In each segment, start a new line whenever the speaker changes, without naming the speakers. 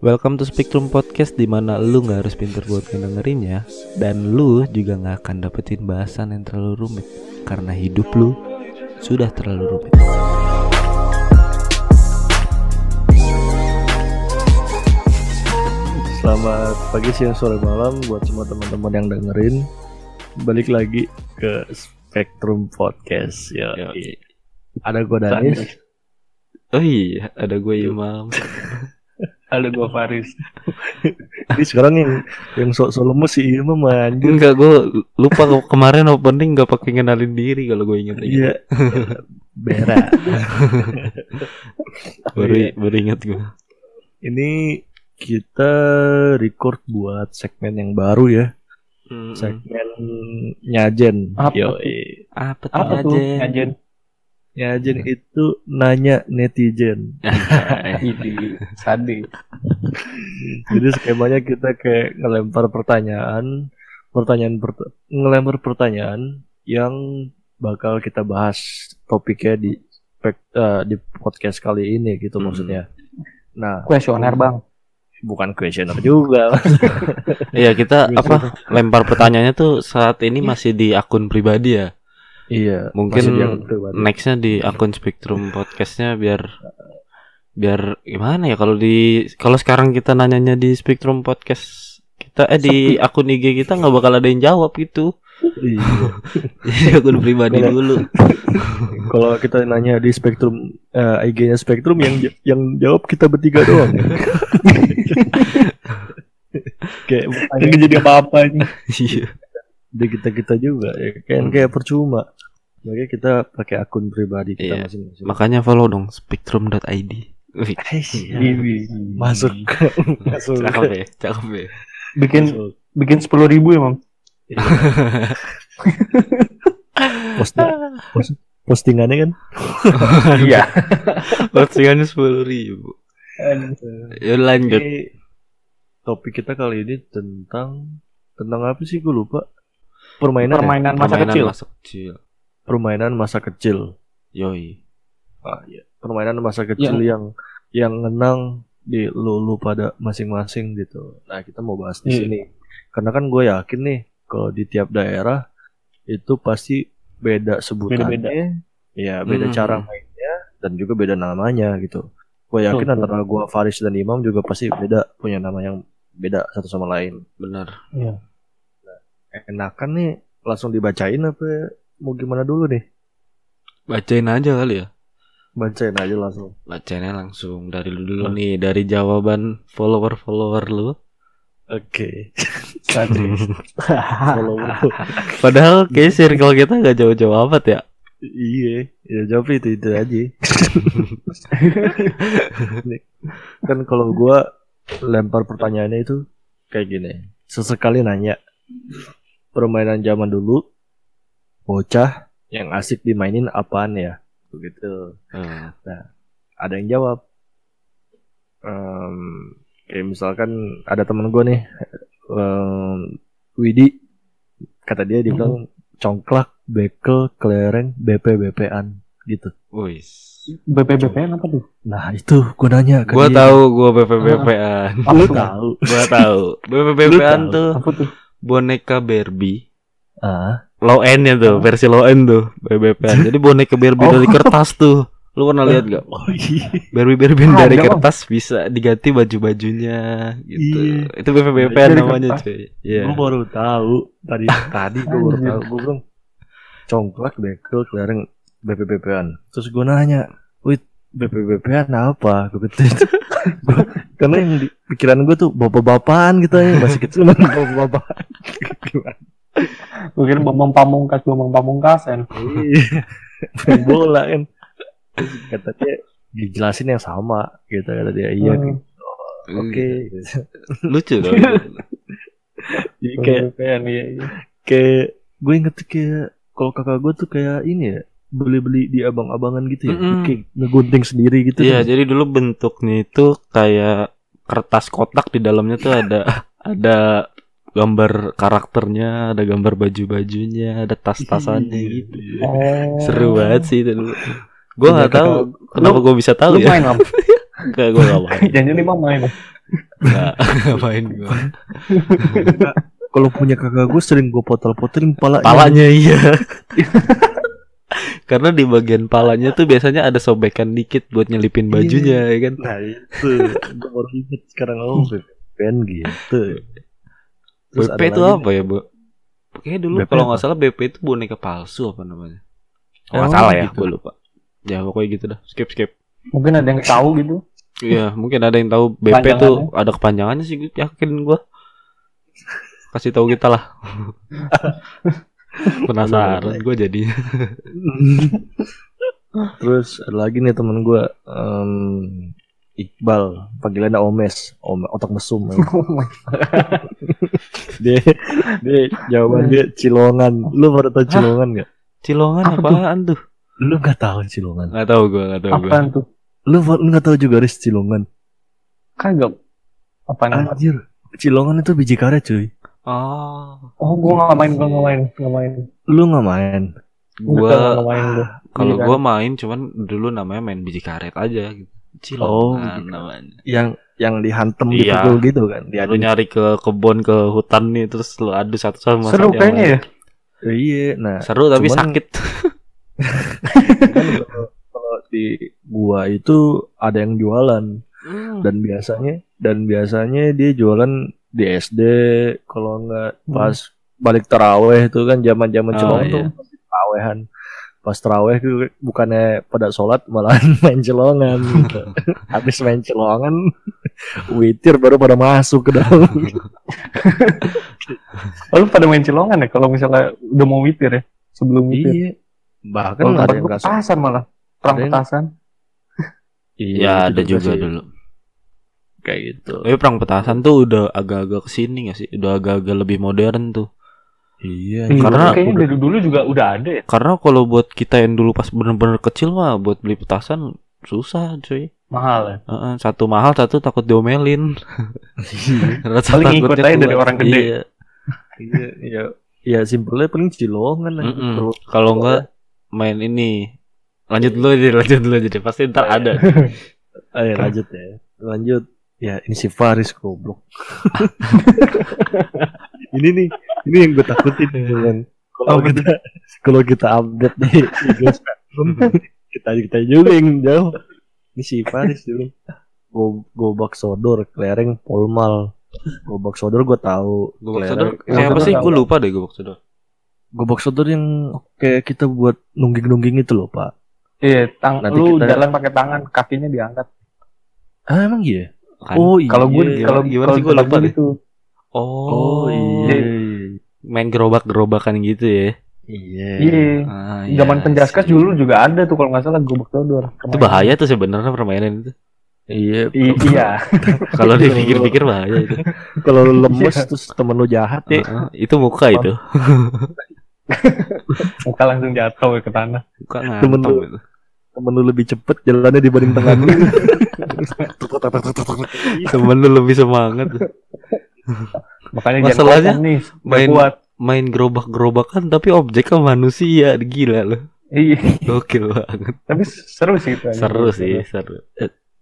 Welcome to Spectrum Podcast di mana lu nggak harus pinter buat ngedengerinnya dan lu juga nggak akan dapetin bahasan yang terlalu rumit karena hidup lu sudah terlalu rumit.
Selamat pagi, siang, sore, malam buat semua teman-teman yang dengerin. Balik lagi ke Spectrum Podcast. Ya.
Yoi.
Ada gue Danis.
iya. Oh iya, ada gue Imam.
Halo gua Faris.
Ini sekarang yang yang sok sok lemes si Imam anjir.
Enggak, gue lupa ke- kemarin opening nggak pakai ngenalin diri kalau gue inget ingat
Iya. Berak.
baru
iya.
baru inget gue.
Ini kita record buat segmen yang baru ya. Segmen Nyajen.
Apa
Yoi.
Apa tuh
Apa tuh? Ajen.
Nyajen itu nanya netizen.
Idi. Sadi.
Jadi skemanya kita kayak ngelempar pertanyaan, pertanyaan pert- ngelempar pertanyaan yang bakal kita bahas topiknya di spek- eh, di podcast kali ini gitu
Hmm.
maksudnya. Nah,
Kuesioner bang.
bukan questioner juga.
Iya kita apa lempar pertanyaannya tuh saat ini masih di akun pribadi ya.
iya,
Mungkin
masih dianggap pribadi.
nextnya di akun Spectrum podcastnya biar biar gimana ya kalau di kalau sekarang kita nanyanya di Spectrum podcast kita eh di akun IG kita nggak bakal ada yang jawab gitu
Iya.
jadi Iya, akun pribadi
Bener.
dulu
Kalau kita nanya di spektrum eh, IG-nya spektrum yang yang jawab kita bertiga doang. kayak
Enggak jadi apa-apa ini.
iya
di kita kita juga ya kan kayak percuma makanya kita pakai akun pribadi kita
Iya.
masing-masing
makanya follow dong spectrum.id Wih,
Iya.
iya.
Idi.
masuk masuk
cakep ya cakep ya
Bikin bikin sepuluh ribu ya, emang.
posting postingannya kan
Iya.
postingannya sepuluh ribu ya lanjut
topik kita kali ini tentang tentang apa sih gue lupa permainan ya?
Permainan masa
Permainan
kecil.
Iya, masa kecil
permainan masa kecil
yoi
ah, iya. permainan masa kecil
Iya.
yang yang ngenang di lu, lu pada masing-masing gitu nah kita mau bahas di
Iya.
sini karena kan gue yakin nih kalau di tiap daerah itu pasti beda sebutannya
Beda-beda.
Iya, beda
Hmm.
cara mainnya dan juga beda namanya gitu. Gue yakin
Betul.
antara gua Faris dan Imam juga pasti beda punya nama yang beda satu sama lain. E,
benar
Enakan nih langsung dibacain apa mau gimana dulu nih?
bacain aja kali ya
Bacain aja langsung.
bacainnya langsung dari lu dulu nih dari jawaban follower follower lu
Oke.
Sadi.
Kalau
Padahal kayak circle kita nggak jauh-jauh amat ya.
iya, ya jawab itu itu aja. Nih, kan kalau gua lempar pertanyaannya itu kayak gini. Sesekali nanya permainan zaman dulu bocah yang asik dimainin apaan ya? Begitu.
Eh,
Ada yang jawab. Em, kayak misalkan ada temen gua nih em, Widi kata dia dibilang congklak, bekel, kelereng, BP BPan gitu.
Wis.
BPBP apa tuh?
Nah itu gue nanya
Gua
iya.
tahu gua BPBP-an.
Apa
Lu
tuh?
tahu
Gua tahu. BPBP-an
Lu tahu.
tuh
Apa tuh?
boneka Barbie.
ah,
Low end-nya tuh, versi low end tuh BPBP-an. Jadi boneka Barbie
Oh.
dari kertas tuh. Lu pernah lihat gak?
oh iya
Barbie Barbie
Ada,
dari
Bang.
kertas bisa diganti baju-bajunya gitu. Itu
Iya. Dari
BPBP-an namanya,
kertas.
cuy.
Gue
Iya.
baru tahu Tadi tadi gue baru
Anjir.
tahu Gue bilang Congklak, bekel, kelereng BPBP-an Terus gue nanya Wih BPBP-an apa? Gue gitu Gua- Karena yang di pikiran gue tuh Bapak-bapakan gitu ya Masih kecil banget bapak-bapak
Gue kira bambang pamungkas, bambang pamungkas kan.
Iya. Main bola kan Terus Kata dia Dijelasin yang sama gitu Kata dia iya
Hmm,
Oke
Iya, Lucu tuh.
Jadi kayak
BPBP-an iya iya.
kayak gue inget tuh kayak kalau kakak gue tuh kayak ini ya beli-beli di abang-abangan gitu ya
Mm-mm.
kayak ngegunting sendiri gitu
Iya,
Terus
jadi dulu bentuknya itu kayak kertas kotak di dalamnya tuh ada ada gambar karakternya, ada gambar baju-bajunya, ada tas-tasannya
Iya.
gitu.
Oh.
Seru banget sih itu dulu. Gue
Iya,
nggak tahu
kata-
kenapa gue bisa tahu
Lu
ya.
main lah.
Iya.
Enggak, gue nggak main.
Jangan-jangan emang main.
Nggak, nggak main gua.
Kalau punya kakak gue sering gue potol-potolin ya. palanya.
Palanya iya. Karena di bagian palanya tuh biasanya ada sobekan dikit buat nyelipin bajunya ya kan.
Nah itu gue baru inget sekarang oh BPN gitu. Terus
BP
ada
Hmm. itu
lagi-
apa ya, Bu? Kayaknya dulu
BP
kalau
apa?
nggak salah BP itu boneka palsu apa namanya?
Oh,
Nggak salah ya,
gitu.
gue lupa. Ya pokoknya gitu dah. Skip skip.
Mungkin ada yang tahu gitu.
Iya, mungkin ada yang tahu BP tuh ada kepanjangannya sih, gua- yakin gua. Kasih tahu kita lah. Penasaran gua jadinya.
Terus ada lagi nih temen gue Iqbal panggilannya Omes, Om, otak mesum. ya. dia dia jawaban dia Cilongan. Lu baru tau Cilongan gak?
Cilongan
Apa tuh?
apaan tuh?
Lu nggak tahu Cilongan?
Nggak tahu gua, nggak tahu gua.
Apaan tuh?
Lu lu nggak tahu juga Riz Cilongan?
Kagak. Apa namanya?
Anjir, Cilongan itu biji karya cuy.
Oh,
Oh, gua nggak main, gua nggak main, nggak main.
Lu nggak main?
Gua
gua
nggak main gua.
kalau
Iya.
gua main cuman dulu namanya main biji karet aja gitu.
Oh,
Cilongan
biji karet.
namanya.
Yang yang dihantem
Iya.
dipukul gitu kan? Dia
Lu nyari ke kebun ke hutan nih terus lu adu satu sama
Seru
satu yang
kayaknya ya.
Iya,
lain.
nah
Seru tapi
Cuman-
sakit.
kan kalau- kalau di gua itu ada yang jualan
Ya,
Hmm.
dan biasanya dan biasanya dia jualan di SD kalau nggak
Hmm.
pas balik teraweh itu kan zaman zaman
Oh,
celong tuh
iya.
pasti terawehan pas teraweh tuh bukannya pada sholat malahan main celongan gitu. habis main celongan witir baru pada masuk ke dalam
Oh, lu pada main cilongan ya kalau misalnya udah mau witir ya? Sebelum witir.
iya
kan
bahkan
Kalau
ada
tempat
yang
gua
nggak sholat.
petasan malah. Perang
Ada yang-
petasan.
Iya,
Iya,
Ya ada
gitu
juga
sih.
dulu.
kayak gitu
Tapi perang petasan tuh udah agak-agak kesini gak sih? Udah agak-agak lebih modern tuh.
iya
Iya,
karena-
kayaknya dari dulu juga udah ada ya.
Karena kalau buat kita yang dulu pas bener-bener kecil mah buat beli petasan susah cuy.
Mahal ya.
Heeh, satu mahal, satu takut diomelin. Rasa
Paling ngikut
takutnya
aja dari
keluar.
orang gede.
Iya.
Iya, iya. Ya simpelnya paling cilongan lah.
Mm-mm.
Terus
Kalau enggak main ini. Lanjut dulu jadi lanjut dulu jadi pasti ntar
Iya.
ada.
eh, lanjut ya. Lanjut. Ya ini si Faris goblok. ini nih, ini yang gue takutin ya, kan. Kalau
Oh,
gitu.
kita kalau kita update di IG Spectrum, kita kita juga yang jauh. Ini si Faris dulu. Go, gobak sodor, kelereng polmal. Gobak sodor gue tahu.
Gobak
Kelereng-
sodor.
Kelereng.
Kayak apa
Gobak
sih?
sodor.
Gue lupa deh gobak sodor.
Gobak sodor yang kayak kita buat nungging-nungging itu loh pak.
Iya, tang
Nanti
lu
kita-
jalan pakai tangan, kakinya diangkat.
Ah emang iya.
Kan?
Oh iya.
Kalau gue
Gimana-
kalau
gimana
kalau
sih? Gua
tempat
lupa
gua
deh.
gitu.
Oh,
iya.
Main gerobak-gerobakan gitu ya.
Iya.
Iya.
Ah, iya
Zaman penjaskas
sih.
dulu juga ada tuh kalau nggak salah gobek sodor.
Itu bahaya tuh sebenarnya permainan itu.
Iya.
I- iya.
Kalau dipikir-pikir bahaya itu.
Kalau lu lemes
Iya.
terus temen lu jahat ya.
Heeh, itu muka itu.
Muka langsung jatuh ya ke tanah.
Muka
Temen
ngantem
lu.
itu.
Temen lu lebih cepet jalannya dibanding tangan lu.
Temen lu lebih semangat.
Makanya
Masalahnya,
jangan kosong nih, udah
main-
kuat.
Main gerobak-gerobakan tapi objeknya manusia. Gila lu.
Iya,
Gokil banget.
tapi seru sih itu.
Seru sih, seru.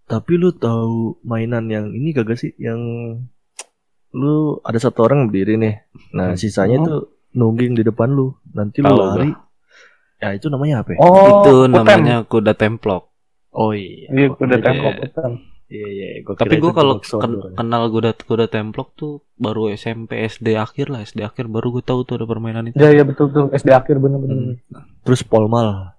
Tapi lu tahu mainan yang ini kagak sih yang lu ada satu orang berdiri nih. Nah, sisanya
Hmm.
tuh nungging di depan lu. Nanti lu
Tahu
lari. Ya itu namanya apa? ya?
Oh,
itu
hutan.
namanya kuda templok.
Oh iya.
Iya, kuda
Iya.
tengkok hutan.
Iya iya. Gua
Tapi
kira
gue
itu
kalau
gobak sodor.
ken- kenal kuda kuda templok tuh baru SMP SD akhir lah SD akhir baru gue tahu tuh ada permainan itu.
Iya, iya betul tuh SD akhir bener-bener.
terus polmal.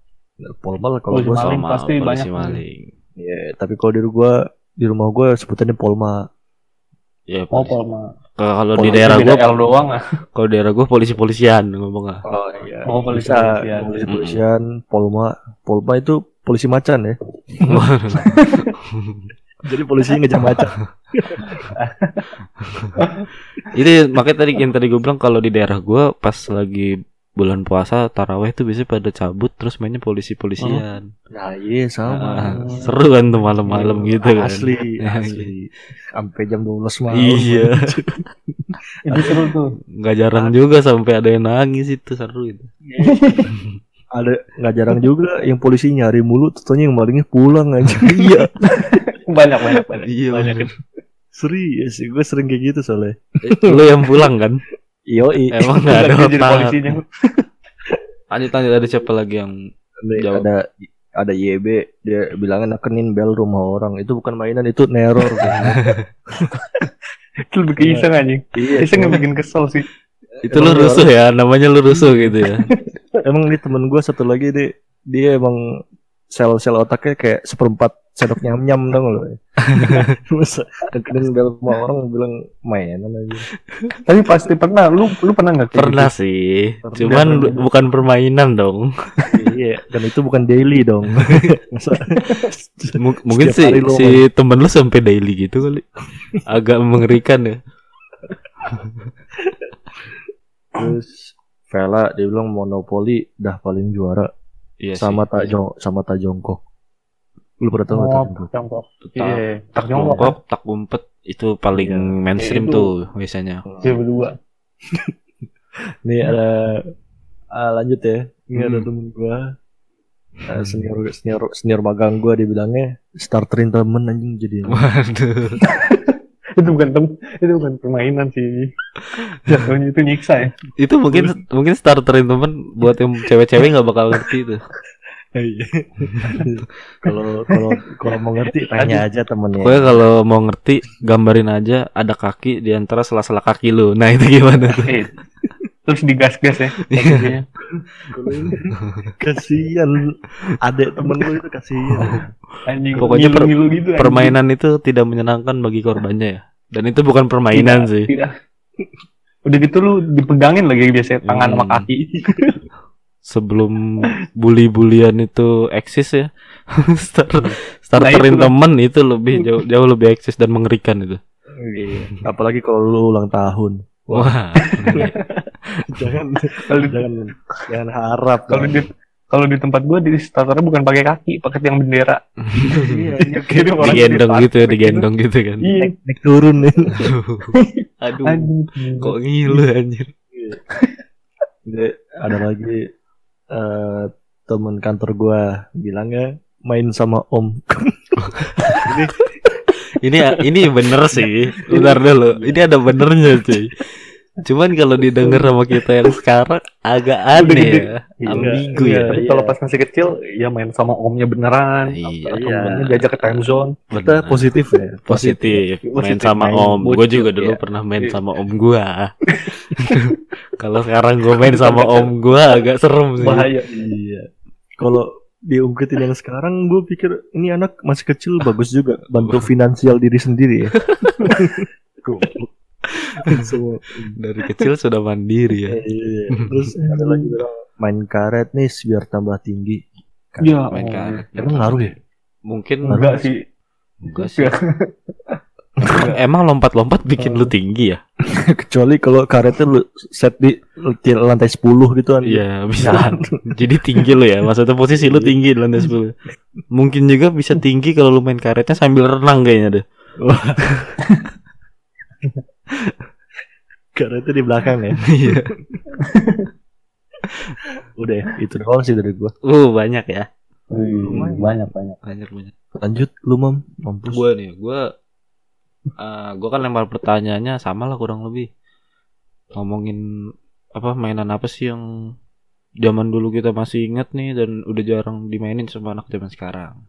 Polmal kalau
Polisi
gua
maling
Sama
pasti
polisi
banyak. kan.
maling.
Iya, tapi kalau di gua di rumah gua sebutannya polma.
Ya,
Oh,
polisi.
Polma.
Kalau kalau di
Polisi
daerah
Beda
gue
L doang ah.
kalau daerah gue polisi-polisian ngomongnya.
Oh iya.
Oh, polisi
Bisa,
polisian.
polisi polisian, polma. Polma itu polisi macan ya. Jadi polisi ngejar macan.
itu makanya tadi yang tadi gue bilang kalau di daerah gua pas lagi bulan puasa taraweh tuh biasanya pada cabut terus mainnya polisi-polisian
Nah, iya
Ah,
sama.
seru kan tuh malam-malam gitu kan
Asli,
Ya,
asli. Sampai jam 12 malam.
iya
Itu seru tuh.
nggak jarang juga sampai ada yang nangis itu seru itu
Ada nggak jarang juga yang polisi nyari mulu, tentunya yang malingnya pulang aja. iya.
Banyak banyak banyak.
iya
banyak.
Serius, gue sering kayak gitu soalnya.
Lu yang pulang kan?
Yoi.
Emang nggak ada
Lagi jadi
otak.
polisinya.
Lanjut lanjut ada siapa lagi yang
Nih,
Jawab.
ada ada YB dia bilangnya nakenin bel rumah orang itu bukan mainan itu neror kan.
Itu lebih ke
Iya.
iseng anjing.
Iya,
Iseng yang bikin kesel sih.
Eh,
itu lu rusuh ya, namanya lu rusuh gitu ya.
emang ini temen gue satu lagi dia dia emang sel-sel otaknya kayak seperempat sendok nyam-nyam dong lo masa nakenin bel rumah orang bilang mainan aja
Tapi pasti pernah. Lu lu pernah nggak? kayak
Pernah
gitu?
sih,
Pernah,
cuman
pernah.
bu- bukan permainan dong.
iya dan itu bukan daily dong masa
M- mungkin
Setiap
si
hari lu
si temen lu sampai daily gitu kali. Agak mengerikan ya.
terus Vela dia bilang monopoli dah paling juara
Iya sih.
sama tak jong sama tak jongkok lu pernah tahu nggak tak
Oh,
jongkok
jongkok.
Tak
Iya, tak jongkok. kan?
jongkok, tak umpet itu paling
Iya.
mainstream
Itu.
tuh biasanya.
Dia berdua.
Nih ada ah, lanjut ya. Ini ada
Hmm.
temen gua. ah, senior senior senior magang gua dibilangnya starterin temen anjing jadi.
Oh, Waduh.
Itu bukan tem- itu bukan permainan sih. Jatuhnya itu nyiksa ya.
itu mungkin mungkin starterin temen buat yang cewek-cewek nggak bakal ngerti itu iya.
Kalau kalau kalau mau ngerti tanya aja
Pokoknya
temennya.
kalau mau ngerti gambarin aja ada kaki di antara sela-sela kaki lu nah itu gimana tuh
Eh, Terus digas-gas ya.
Iya.
Iya.
kakinya.
Kasihan adek temen lu itu kasihan.
Anjing.
Pokoknya per-
ngilu-ngilu gitu. anjing.
permainan itu tidak menyenangkan bagi korbannya ya dan itu bukan permainan sih
Tidak. Udah gitu lu dipegangin lagi biasanya tangan sama
Hmm.
kaki.
sebelum bully-bulian itu eksis ya Star,
Nah,
starterin
itu lah.
temen itu lebih jauh jauh lebih eksis dan mengerikan itu Gitu.
Apalagi kalau lu ulang tahun.
wah
Jangan
Kalau di-
jangan jangan harap.
kalau di kalau di tempat gua di starternya bukan pakai kaki, pakai yang bendera. Iya, jadi orang
digendong
jadi
gitu ya
starter
digendong gitu kan
Iya,
naik, naik turun nih.
Iya. Aduh. aduh
anjing.
kok ngilu anjir
Jadi, ada lagi eh temen kantor gua bilangnya main sama om.
ini ini bener sih benar dulu ini ada benernya cuy cuman kalau didengar sama kita yang sekarang agak aneh
gede.
ya ambigu ya
Tapi
Iya.
kalau pas masih kecil, ya main sama omnya beneran.
Iya,
Atau
iya.
omnya diajak ke time zone.
Kita
Bener.
positif ya.
positif main
Positif,
sama
main
om gue
bocil,
juga dulu
iya.
pernah main sama om gua kalau sekarang gue main sama om gua agak serem sih
Bahaya.
Iya. Kalau diungkitin yang sekarang, gue pikir ini anak masih kecil bagus juga bantu finansial diri sendiri ya. Goblok. Semua.
dari kecil sudah mandiri ya
Iya, iya, iya. Terus ada lagi bilang main karet nih biar tambah tinggi.
Iya,
main
oh.
karet
Emang ngaruh ya?
mungkin
Enggak sih. Iya.
enggak sih Emang- emang lompat-lompat bikin lu tinggi ya
Kecuali kalau karetnya lu set di di lantai 10 gitu kan.
Iya bisa Jadi tinggi lu ya Maksudnya posisi lu tinggi di lantai 10 Mungkin juga bisa tinggi kalau lu main karetnya sambil renang kayaknya deh
Karetnya di belakang ya.
Iya
Udah ya, itu doang sih dari gue.
Uh banyak ya
Hmm, banyak banyak.
Banyak banyak
Lanjut lu mam, mampus.
Gue nih Gue Gue kan lempar pertanyaannya sama lah kurang lebih Ngomongin Apa mainan apa sih yang Zaman dulu kita masih inget nih Dan udah jarang dimainin sama anak zaman sekarang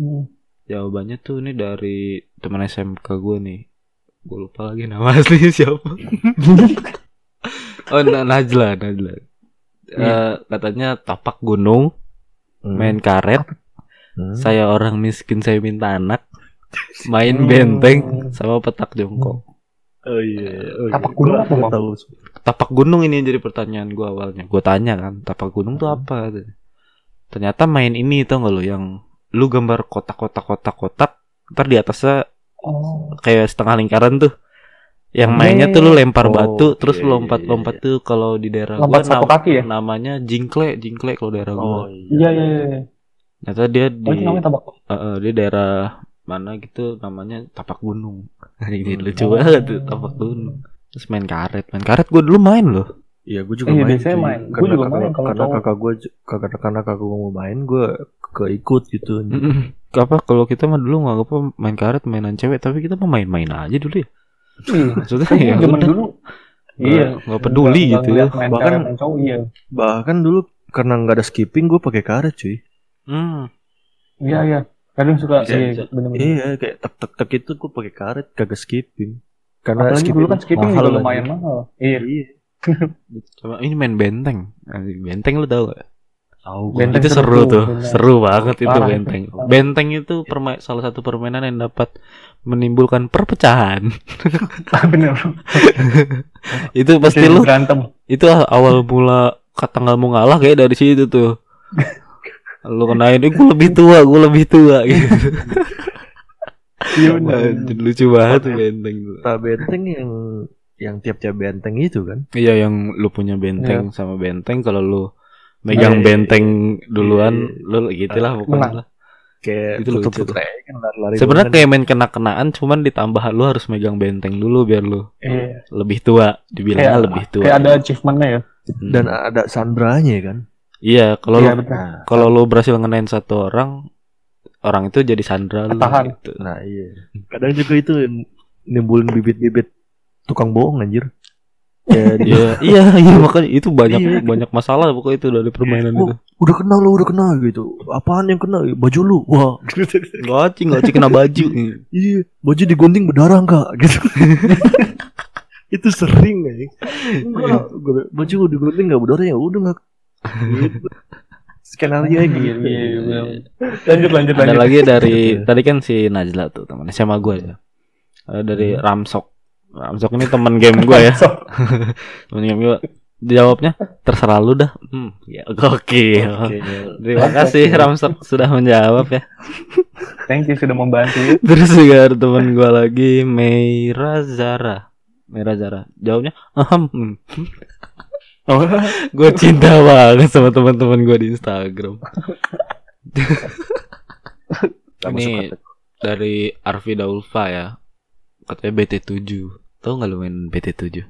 Hmm.
Jawabannya tuh ini dari teman SMK gue nih. Gue lupa lagi nama aslinya siapa. oh, Na- Najla, Najla. Eh, katanya tapak gunung, main karet,
Hmm.
saya orang miskin saya minta anak, main
Hmm.
benteng sama petak jongkok.
Oh iya. Oh, iya.
Tapak gunung
Gua-
apa,
gua
Mam?
tahu.
Tapak gunung ini yang jadi pertanyaan gue awalnya. Gue tanya kan, tapak gunung tuh
Hmm.
apa? Ternyata main ini tau gak lo yang lu gambar kotak-kotak-kotak-kotak, ntar di atasnya
Oh.
kayak setengah lingkaran tuh yang
Oh.
mainnya tuh lu lempar
Hmm. Oh,
batu terus lu
iya, iya,
lompat-lompat tuh kalau di daerah gua
Lompat satu
nam-
kaki ya?
namanya jingkle jingkle kalau daerah gua
Oh
Iya, iya, iya.
ternyata dia
Oh,
di
itu namanya tabak.
eh, eh, di daerah mana gitu namanya tapak gunung ini
Hmm.
lucu banget tuh tapak gunung terus main karet main karet gua dulu main loh
Iya, gue juga
Iya,
main.
biasanya
cuy.
main. Gua
Karena
juga main
kakak,
kalau
karena
cowok.
kakak gue, kakak karena kakak gue mau main, gue gak ikut gitu
Mm-mm. apa kalau kita mah dulu nggak apa main karet mainan cewek tapi kita mah main-main aja dulu ya
Iya.
maksudnya
Kayaknya
ya
zaman
udah.
dulu
Nggak-
iya
nggak peduli gitu
Nggak- nggak
ya
ngeliat main
Bahkan-
cewek, main cowok iya
bahkan dulu karena nggak ada skipping gue pakai karet cuy
Hmm.
iya iya kadang suka
Bisa,
iya
bisa.
bener-bener
iya kayak tek tek tek itu gue pakai karet kagak skipping karena
apalagi dulu kan skipping
mahal
juga
lagi.
lumayan mahal iya
iya
Coba ini main benteng. Ah, Benteng lu tau gak?
tahu gua.
Benteng
itu seru,
seru,
tuh.
bener.
Seru banget itu
Parah.
benteng. Benteng itu perma- salah satu permainan yang dapat menimbulkan perpecahan.
bener
itu pasti
Jadi
lu
berantem
itu awal mula kata nggak mau ngalah kayak dari situ tuh. lu kenain, eh, gue lebih tua, gue lebih tua gitu.
iya bener
Anjir, lucu banget tuh benteng. tuh.
Nah, benteng yang yang tiap-tiap benteng itu kan
Iya yang lu punya
Iya.
benteng sama benteng kalau lu
Iya,
megang
iya,
benteng duluan
Iya,
lu gitulah
menang.
pokoknya.
kayak
Itu lucu
tutup
tuh.
tutup kan lari-lari
Sebenarnya
Nah,
kayak main kena-kenaan cuman ditambah lu harus megang benteng dulu biar lu
iya
lebih tua, dibilangnya
Kayak-
lebih tua.
kayak ada achievementnya ya
Hmm.
dan ada sandranya kan
iya, kalau
iya
lu-
betul
nah
kalau lu berhasil ngenain satu orang, orang itu jadi sandra lu
Tahan.
gitu.
nah iya kadang juga itu yang nimbulin bibit-bibit tukang bohong anjir ya dia,
Iya, iya, iya makanya itu banyak
Iya.
banyak masalah pokoknya itu dari permainan
Oh,
itu.
udah kenal lo udah kenal gitu apaan yang kena baju lu wah
Gocing, gocing kena baju.
iya baju digunting berdarah enggak gitu itu sering ya enggak gua- baju digunting enggak berdarah ya udah enggak gitu. skenario
iya
aja
iya
gitu
iya bener. lanjut lanjut
ada
lanjut
lagi dari tadi kan si Najla tuh teman SMA gue ya. Ada dari Ramsok. Ramsok ini teman game gue ya.
So-
Teman game gue. Jawabnya terserah lu dah. Hmm, ya gokil.
Oke.
Terima kasih Ramsok sudah menjawab ya.
thank you sudah membantu
Terus juga ada teman gue lagi Meira Zara. Meira Zara. Jawabnya, ahem.
oh,
Gue cinta banget sama teman-teman gue di Instagram.
Sama
Ini
suka-
dari Arfi Daulfa ya. Katanya BT7. Tahu nggak lu main BT7?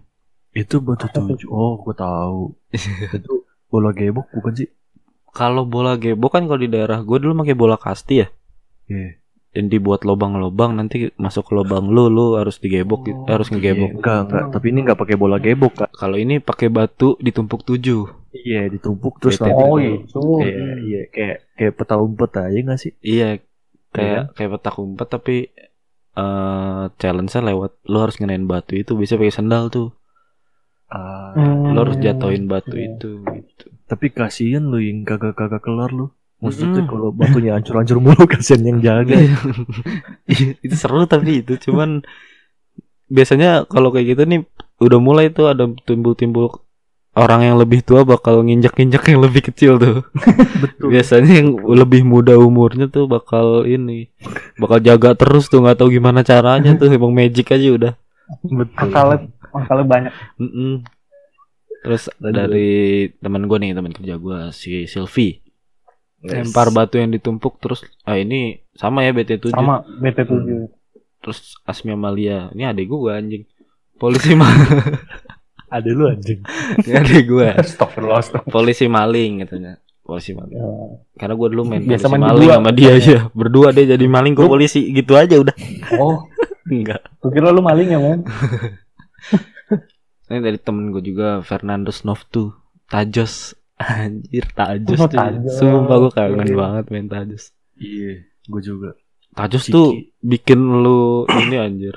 itu batu tujuh oh gua tahu itu bola gebok bukan sih
Kalau bola gebok kan kalau di daerah gue dulu pakai bola kasti ya.
Iya.
Dan dibuat lobang-lobang nanti masuk ke lobang lu lu harus digebok gitu,
Oh,
harus ngegebok.
Iya, enggak enggak tapi ini enggak pakai bola gebok kan
Kalau ini pakai batu ditumpuk tujuh.
iya ditumpuk terus
Bete-
nanti
oh
kalau-
itu
iya iya kayak kayak peta umpet aja enggak sih
Iya, kayak kayak petak umpet tapi eh challenge-nya lewat lu harus ngenain batu itu bisa pakai sendal tuh.
Ah,
Hmm.
Lu harus jatuhin batu
Iya.
itu gitu.
tapi kasihan lu yang kagak-kagak kelar lu maksudnya
Mm-mm.
kalau batunya hancur-hancur mulu kasihan yang jaga
Iya, itu seru tapi itu cuman biasanya kalau kayak gitu nih udah mulai tuh ada timbul-timbul orang yang lebih tua bakal nginjak-nginjak yang lebih kecil tuh.
betul
Biasanya yang lebih muda umurnya tuh bakal ini bakal jaga terus tuh nggak tahu gimana caranya tuh emang magic aja udah.
betul
akalnya akalnya banyak
Mm-mm. Terus
Lanjut.
dari teman gue nih teman kerja gue si Silvi lempar batu yang ditumpuk terus ah ini sama ya BT7
sama BT7
terus Asmi Amalia ini adik gue anjing polisi ma
ada lu anjing
ini adik gue
Astagfirullah, astagfirullah.
polisi maling katanya polisi maling
Ya.
karena gue dulu main
Biasa
polisi
main
maling
berdua. Iya.
sama dia ya berdua dia jadi maling gue
Lu-
polisi gitu aja udah
Oh,
enggak
gue kira lu maling ya, men.
ini dari temen gue juga Fernando Novtu Tajos anjir Tajos
Oh,
tuh ya.
Tajos.
sumpah gue kangen
Iya.
banget main Tajos
iya gue juga
Tajos
Ciki.
tuh bikin lu ini anjir.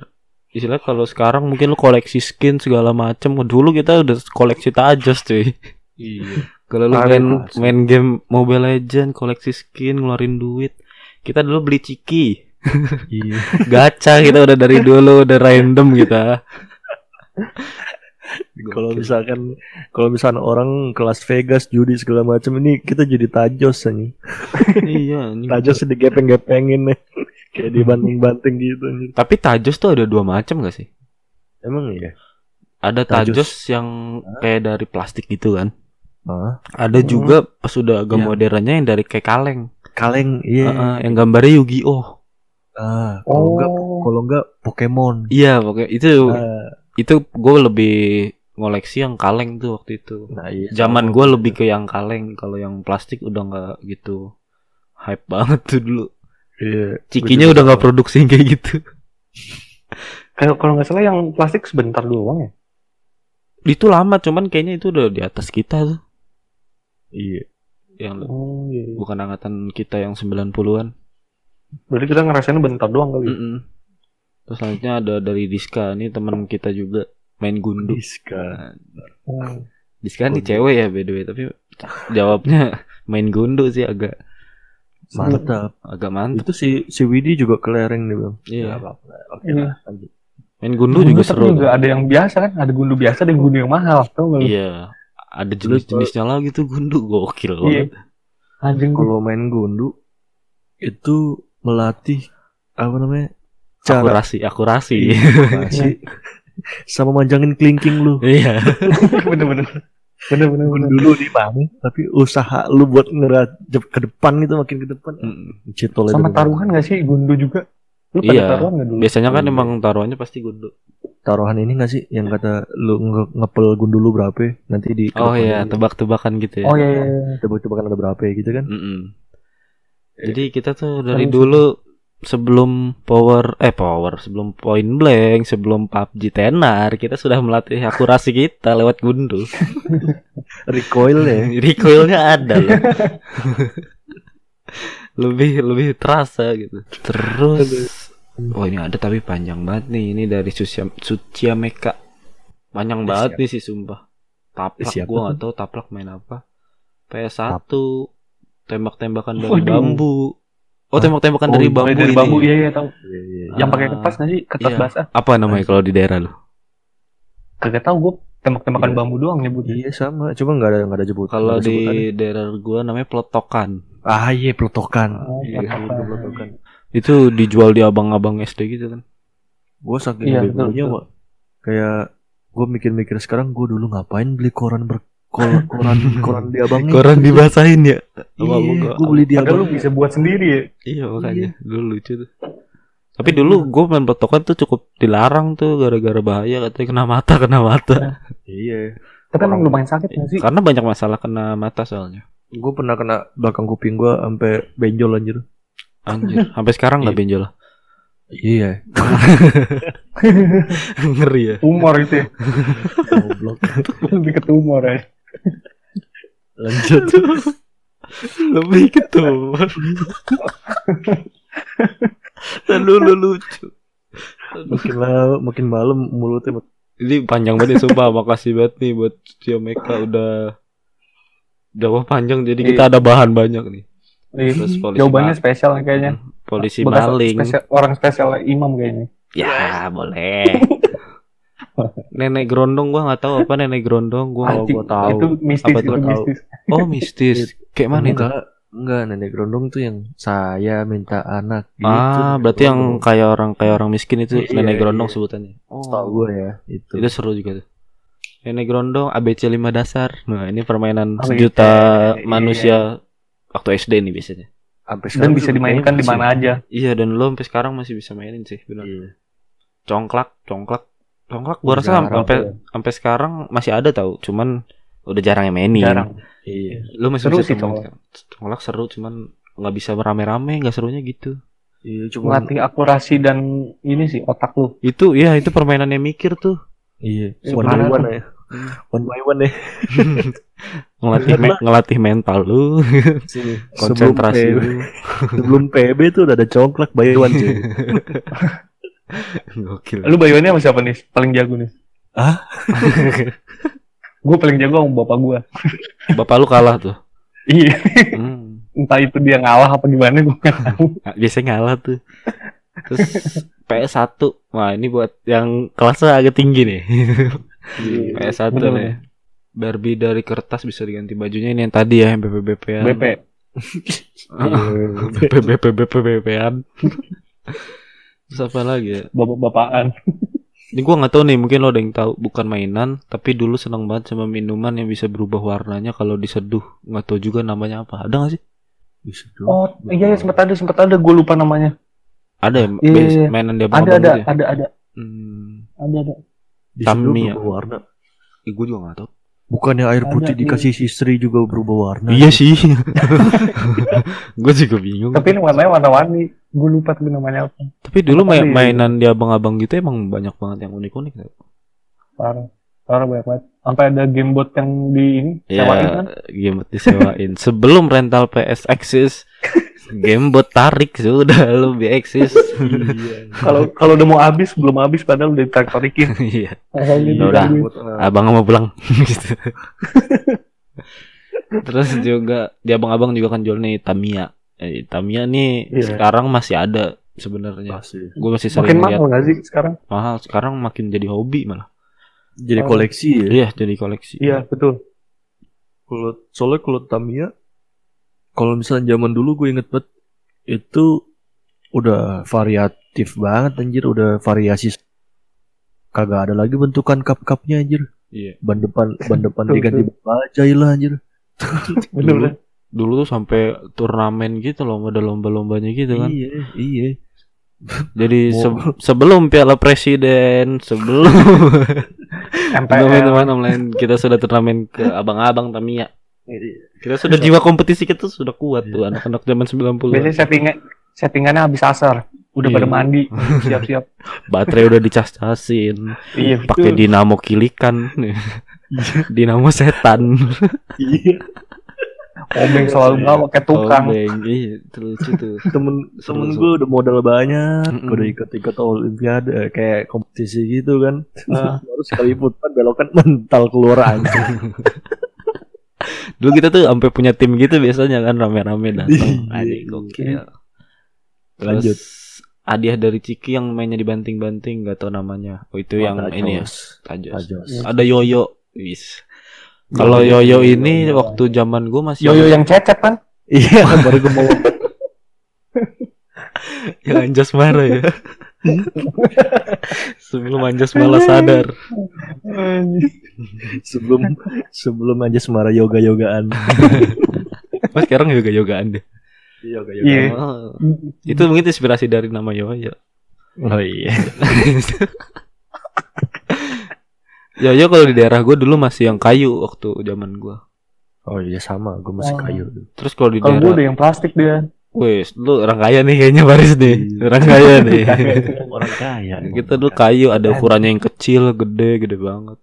Istilah kalau sekarang mungkin lu koleksi skin segala macem. Dulu kita udah koleksi Tajos cuy.
iya
Kalau lu
Parah,
main
Tajos.
main game Mobile Legend koleksi skin ngeluarin duit. Kita dulu beli ciki.
iya
Gacha kita udah dari dulu udah random kita.
kalau misalkan kalau misalkan orang kelas Vegas judi segala macam ini kita jadi tajos anjing
iya anjing.
tajos digepeng-gepengin nih kayak dibanting-banting gitu anjing.
Tapi Tajos tuh ada dua macam gak sih?
emang iya
Ada Tajos,
Tajos.
yang kayak dari plastik gitu kan.
Hah?
Ada
Hmm.
juga pas udah agak
Iya.
modernnya yang dari kayak kaleng.
kaleng iya
Heeh, yang gambarnya Yu-Gi-Oh.
ah kalau enggak
Oh.
kalau enggak Pokemon
Iya, pokoknya itu
Ah,
itu gue lebih ngoleksi yang kaleng tuh waktu itu.
nah iya
Zaman gue lebih ke yang kaleng, kalau yang plastik udah nggak gitu hype banget tuh dulu.
Iya.
Cikinya udah nggak produksi kayak gitu.
Kalau Eh, kalau nggak salah yang plastik sebentar doang ya.
Itu lama cuman kayaknya itu udah di atas kita tuh.
Iya.
Yang
Oh iya. iya.
bukan angkatan kita yang 90-an.
Berarti kita ngerasain bentar doang kali. ya.
Mm-mm. Terus selanjutnya ada dari Diska, ini teman kita juga main gundu.
Diska.
Oh.
Diska nih
Gundu.
cewek ya by the way, tapi jawabnya main gundu sih agak
Mantap.
agak mantep.
Iya. Itu si si Widi juga kelereng nih, Bang. Nggak
Iya.
apa-apa. Oke.
Iya.
lah, lanjut.
Main gundu juga
tapi
seru.
juga ada yang biasa kan, ada gundu biasa dan gundu yang mahal. Tau nggak? lu?
Iya. Ada jenis-jenisnya lagi tuh gundu gokil
Iya.
banget.
Anjing gue.
Kalau main gundu itu melatih apa namanya? Cara
Akurasi, akurasi.
Iya.
masih sama manjangin kelingking lu.
Iya.
Bener-bener. Bener-bener. bener.
dulu di mana tapi usaha lu buat ngerajep ke depan gitu makin ke depan
Mm.
cetol
Sama taruhan nggak sih gundu juga? Lu pada
Iya.
taruhan nggak dulu?
Biasanya kan
Iya.
emang taruhannya pasti gundu.
taruhan ini nggak sih yang kata lu nge- ngepel gundul lu berapa ya? nanti di
Oh iya,
kedepannya
tebak-tebakan gitu ya.
Oh iya, iya. iya.
tebak-tebakan ada berapa ya gitu kan
Mm-mm.
Eh,
Jadi kita tuh dari
Terus-
dulu sebelum power eh power sebelum point blank sebelum PUBG tenar kita sudah melatih akurasi kita lewat gundu.
recoil ya
Recoilnya ada loh. lebih lebih terasa gitu. Terus oh ini ada tapi panjang banget nih ini dari Sucia Sucia Meka. Panjang
Eh,
banget
siap.
nih sih sumpah. Taplak
Siapa
gua
tuh?
nggak tahu taplak main apa. PS1 tembak-tembakan dari
Waduh.
bambu. Oh,
Hah?
tembak-tembakan dari
Oh,
bambu.
Mulai dari
ini.
bambu, iya iya tahu.
Iya, iya, iya.
Yang pakai
Ah,
kertas nggak sih? Kertas
iya.
basah.
Apa namanya kalau di daerah lu?
Kagak tahu gue tembak-tembakan
Iya.
bambu doang nyebutnya.
Iya, sama cuma nggak ada nggak ada jebut
Kalau
nggak ada sebutan.
di daerah gua namanya pelotokan.
ah iya pelotokan
Iya,
Ah, Tembak-tembakan.
pelotokan
Itu dijual di abang-abang SD gitu kan.
gue saking
Iya, betul,
begonya
betul.
Wak. kayak gue mikir-mikir sekarang gue dulu ngapain beli koran ber kol- koran koran di abangnya
Koran dibasahin ya. Apa gua-
iya
gua-
gue beli di
Padahal lu
abangnya
bisa buat sendiri ya.
Iya makanya dulu lucu tuh. Tapi dulu gue main petokan tuh cukup dilarang tuh gara-gara bahaya katanya kena mata kena mata.
iya
Tapi emang lumayan sakit nggak sih?
Karena banyak masalah kena mata soalnya.
gue pernah kena belakang kuping gue sampai benjol anjir
Anjir, sampai sekarang nggak benjol.
iya
Ngeri ya.
Tumor itu ya.
goblok
Lebih ke tumor ya.
lanjut
Lebih gitu. Dan dulu lucu.
makin malam makin malam mulutnya mak-
Ini panjang banget ya sumpah Makasih banget nih buat Cia Meka udah Udah panjang jadi kita ada bahan banyak nih
Iya.
Terus polisi
Jawabannya
ma-
spesial nih kayaknya.
Polisi
Bekas
maling
spesial- orang spesial imam kayaknya.
Ya boleh Nenek Grondong gua nggak tahu apa Nenek Grondong gua nggak
Anjing,
gua tahu
Itu mistis,
Apa
itu
gua tahu?
mistis.
Oh mistis Kayak mana itu?
enggak enggak nenek gerondong tuh yang saya minta anak gitu
Ah berarti yang kayak orang kayak orang miskin itu
Iya,
Nenek
iya.
Grondong sebutannya Oh,
tau gue ya itu
Itu seru juga tuh. Nenek Grondong ABC 5 dasar. Nah, ini permainan
Oh,
sejuta
iya.
manusia waktu SD nih biasanya.
sampai
Dan
sekarang
bisa
tuh
dimainkan di
masih-
mana aja.
Iya, dan lo sampai sekarang masih bisa mainin sih, benar.
Iya.
Congklak, congklak, congklak. Gua rasa
Jarang
sampai sampai sekarang masih ada tau, cuman udah jarang yang mainin.
Jarang.
iya
Lo masih
Seru
bisa
sih
temuin sekarang. Congklak seru, cuman nggak bisa rame-rame, nggak serunya gitu.
iya cuma
Melatih akurasi dan ini sih otak lu.
Itu ya itu permainannya mikir tuh.
iya
Iya,
one by
benar.
one ya one by one ya
ngelatih me- ngelatih mental lu, konsentrasi
Sebelum
lu.
PB sebelum PB tuh udah ada congklak by one cuy
Gokil.
Lu bayuannya sama siapa nih? Paling jago nih.
Hah?
Gue paling jago sama bapak gue.
Bapak lu kalah tuh.
Iya.
Hmm.
Entah itu dia ngalah apa gimana gue nggak tahu.
Nah, biasanya ngalah tuh. Terus PS1. Wah, ini buat yang kelasnya agak tinggi nih. PS1
Bener.
Iya, nih. Barbie dari kertas bisa diganti bajunya ini yang tadi ya yang BPBP an
BP.
BPBP BPBP an Terus apa lagi ya?
Bapak-bapakan.
Ini gua nggak tahu nih, mungkin lo ada yang tahu bukan mainan, tapi dulu seneng banget sama minuman yang bisa berubah warnanya kalau diseduh. Nggak tahu juga namanya apa. Ada nggak sih?
Bisa dong.
Oh iya, iya sempat ada sempat ada gue lupa namanya.
Ada ya,
Iya, iya, iya.
mainan dia Iya.
Ada ada ada ada
Hmm,
ada ada.
Bisa dong
Tamiya.
berubah warna.
Nah,
gue juga nggak tahu.
Bukannya air
Ada
putih
nih.
dikasih sisri juga berubah warna?
Iya sih. gue juga bingung.
Tapi ini warnanya warna-warni. Gue lupa tapi namanya apa.
Tapi dulu
Apa
main-
nih?
mainan di abang-abang gitu emang banyak banget yang unik-unik.
Parah. Parah banyak banget. Sampai ada game bot yang di ini.
Ya,
sewain kan.
gamebot disewain. Sebelum rental PS eksis, gamebot tarik sudah lebih eksis.
Iya, Kalau kalau udah mau habis belum habis padahal udah ditarik-tarikin.
Iya.
Kayak gitu,
Udah.
gangguin.
Eh, abang mau pulang. gitu. Terus juga di abang-abang juga kan jual nih Tamiya. Eh, Tamiya nih
Iya.
sekarang masih ada
Ya.
sebenarnya.
Masih.
Gue masih
Makin
sering lihat
mahal nggak sih sekarang?
mahal. Sekarang makin jadi hobi malah.
Jadi
Oh.
koleksi ya.
Iya, jadi koleksi.
Iya betul.
Kalau soalnya kalau Tamiya, kalau misalnya zaman dulu gue inget banget itu udah variatif banget anjir, udah variasi. Kagak ada lagi bentukan cup-cupnya anjir.
Iya.
Ban depan ban depan
Betul,
diganti bajai lah anjir.
Betul.
Dulu- Dulu tuh sampai turnamen gitu loh, ada lomba-lombanya gitu kan.
Iya, iya.
Jadi
Wow.
se- sebelum Piala Presiden, sebelum
MPL.
teman-teman online kita sudah turnamen ke abang-abang Tamiya. Kita Iya. sudah
Iya.
jiwa kompetisi kita tuh sudah kuat tuh anak-anak zaman 90-an.
Biasanya settingan settingannya habis asar. Udah
Iya.
pada mandi, siap-siap.
Baterai udah dicas-casin,
Iya,
pakai dinamo kilikan. dinamo setan.
Iya.
Obeng selalu bawa kayak tukang.
Iya. Obeng. Iya, itu lucu tuh.
Temen temen
seru.
gue udah modal banyak,
Mm-mm.
udah ikut-ikut olimpiade eh, kayak kompetisi gitu kan.
Ah.
Baru sekali ikutan belokan mental keluar anjir.
Dulu kita tuh sampai punya tim gitu biasanya kan rame-rame datang.
Iya.
Adik gokil.
Lanjut.
Terus hadiah dari Ciki yang mainnya dibanting-banting nggak tahu namanya. Oh itu yang
Tajos.
ini ya. Tajos.
Tajos.
Ada Yoyo. Wis. Kalau Yoyo ini waktu zaman gue masih
Yoyo yang cecep kan?
Iya, baru gue mau
yang Anjas marah ya. Sebelum Anjas malah sadar.
sebelum sebelum aja semara yoga yogaan.
Mas sekarang yoga-yogaan deh.
yoga
Iya.
Oh, itu mungkin inspirasi dari nama Yoyo.
Oh iya.
Yoyo kalau di daerah gue dulu masih yang kayu waktu zaman gue.
Oh iya sama, gue masih
Oh.
kayu.
Terus kalau di
Kalau gue
daerah,
udah yang plastik dia.
wes lu orang kaya nih kayaknya Baris nih. Orang kaya nih.
Orang kaya.
Kita dulu kayu ada ukurannya yang kecil, gede, gede banget.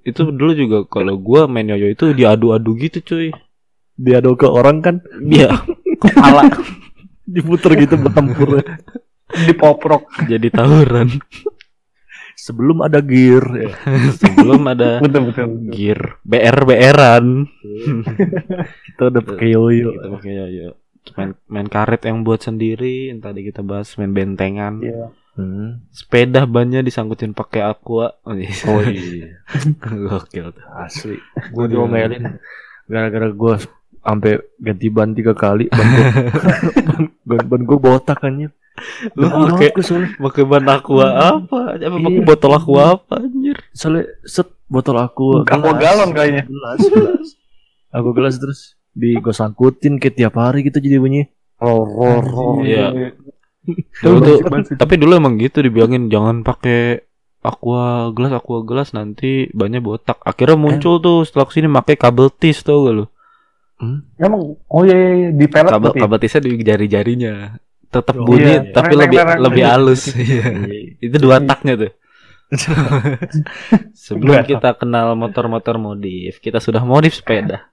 itu dulu juga kalau gua main yoyo itu diadu-adu gitu cuy.
dia do ke orang kan
Iya, kepala
diputer gitu bertempur.
Di poprok.
jadi tawuran.
Sebelum ada gear ya.
Sebelum ada
Betul betul. betul.
gear BR BR-an.
Kita udah pakai
Iya.
yoyo.
Kita pakai yoyo. Main, main karet yang buat sendiri, yang tadi kita bahas main bentengan.
Iya.
Hmm.
Sepeda bannya disangkutin pakai aqua. Oh, iya.
Oh iya,
Gokil tuh.
asli. Gue diomelin gara-gara gue sampai ganti ban tiga kali ban gue ban gue botak anjir
Lu
Depan
pakai
banget gua soalnya
pakai ban aqua apa? Apa pakai
Iya.
botol aqua apa anjir?
soalnya set botol aku
Kamu galon kayaknya.
gelas gelas aku gelas terus di gue sangkutin ke tiap hari gitu jadi bunyi ror ror ror
Iya.
Dulu
Dulu
tuh-
Iya.
tapi dulu emang gitu dibilangin jangan pakai aqua gelas aqua gelas nanti banyak botak akhirnya muncul
Eh.
tuh setelah kesini pakai kabel tis tau gak lu
Emang oh iya, iya, iya. di pelet
kabel
berarti.
kabel tisnya di jari jarinya tetap
Oh,
bunyi
iya.
tapi
Reng,
lebih
reng, reng.
lebih halus Iya. itu dua taknya tuh sebelum
Dua tak.
kita kenal motor-motor modif kita sudah modif sepeda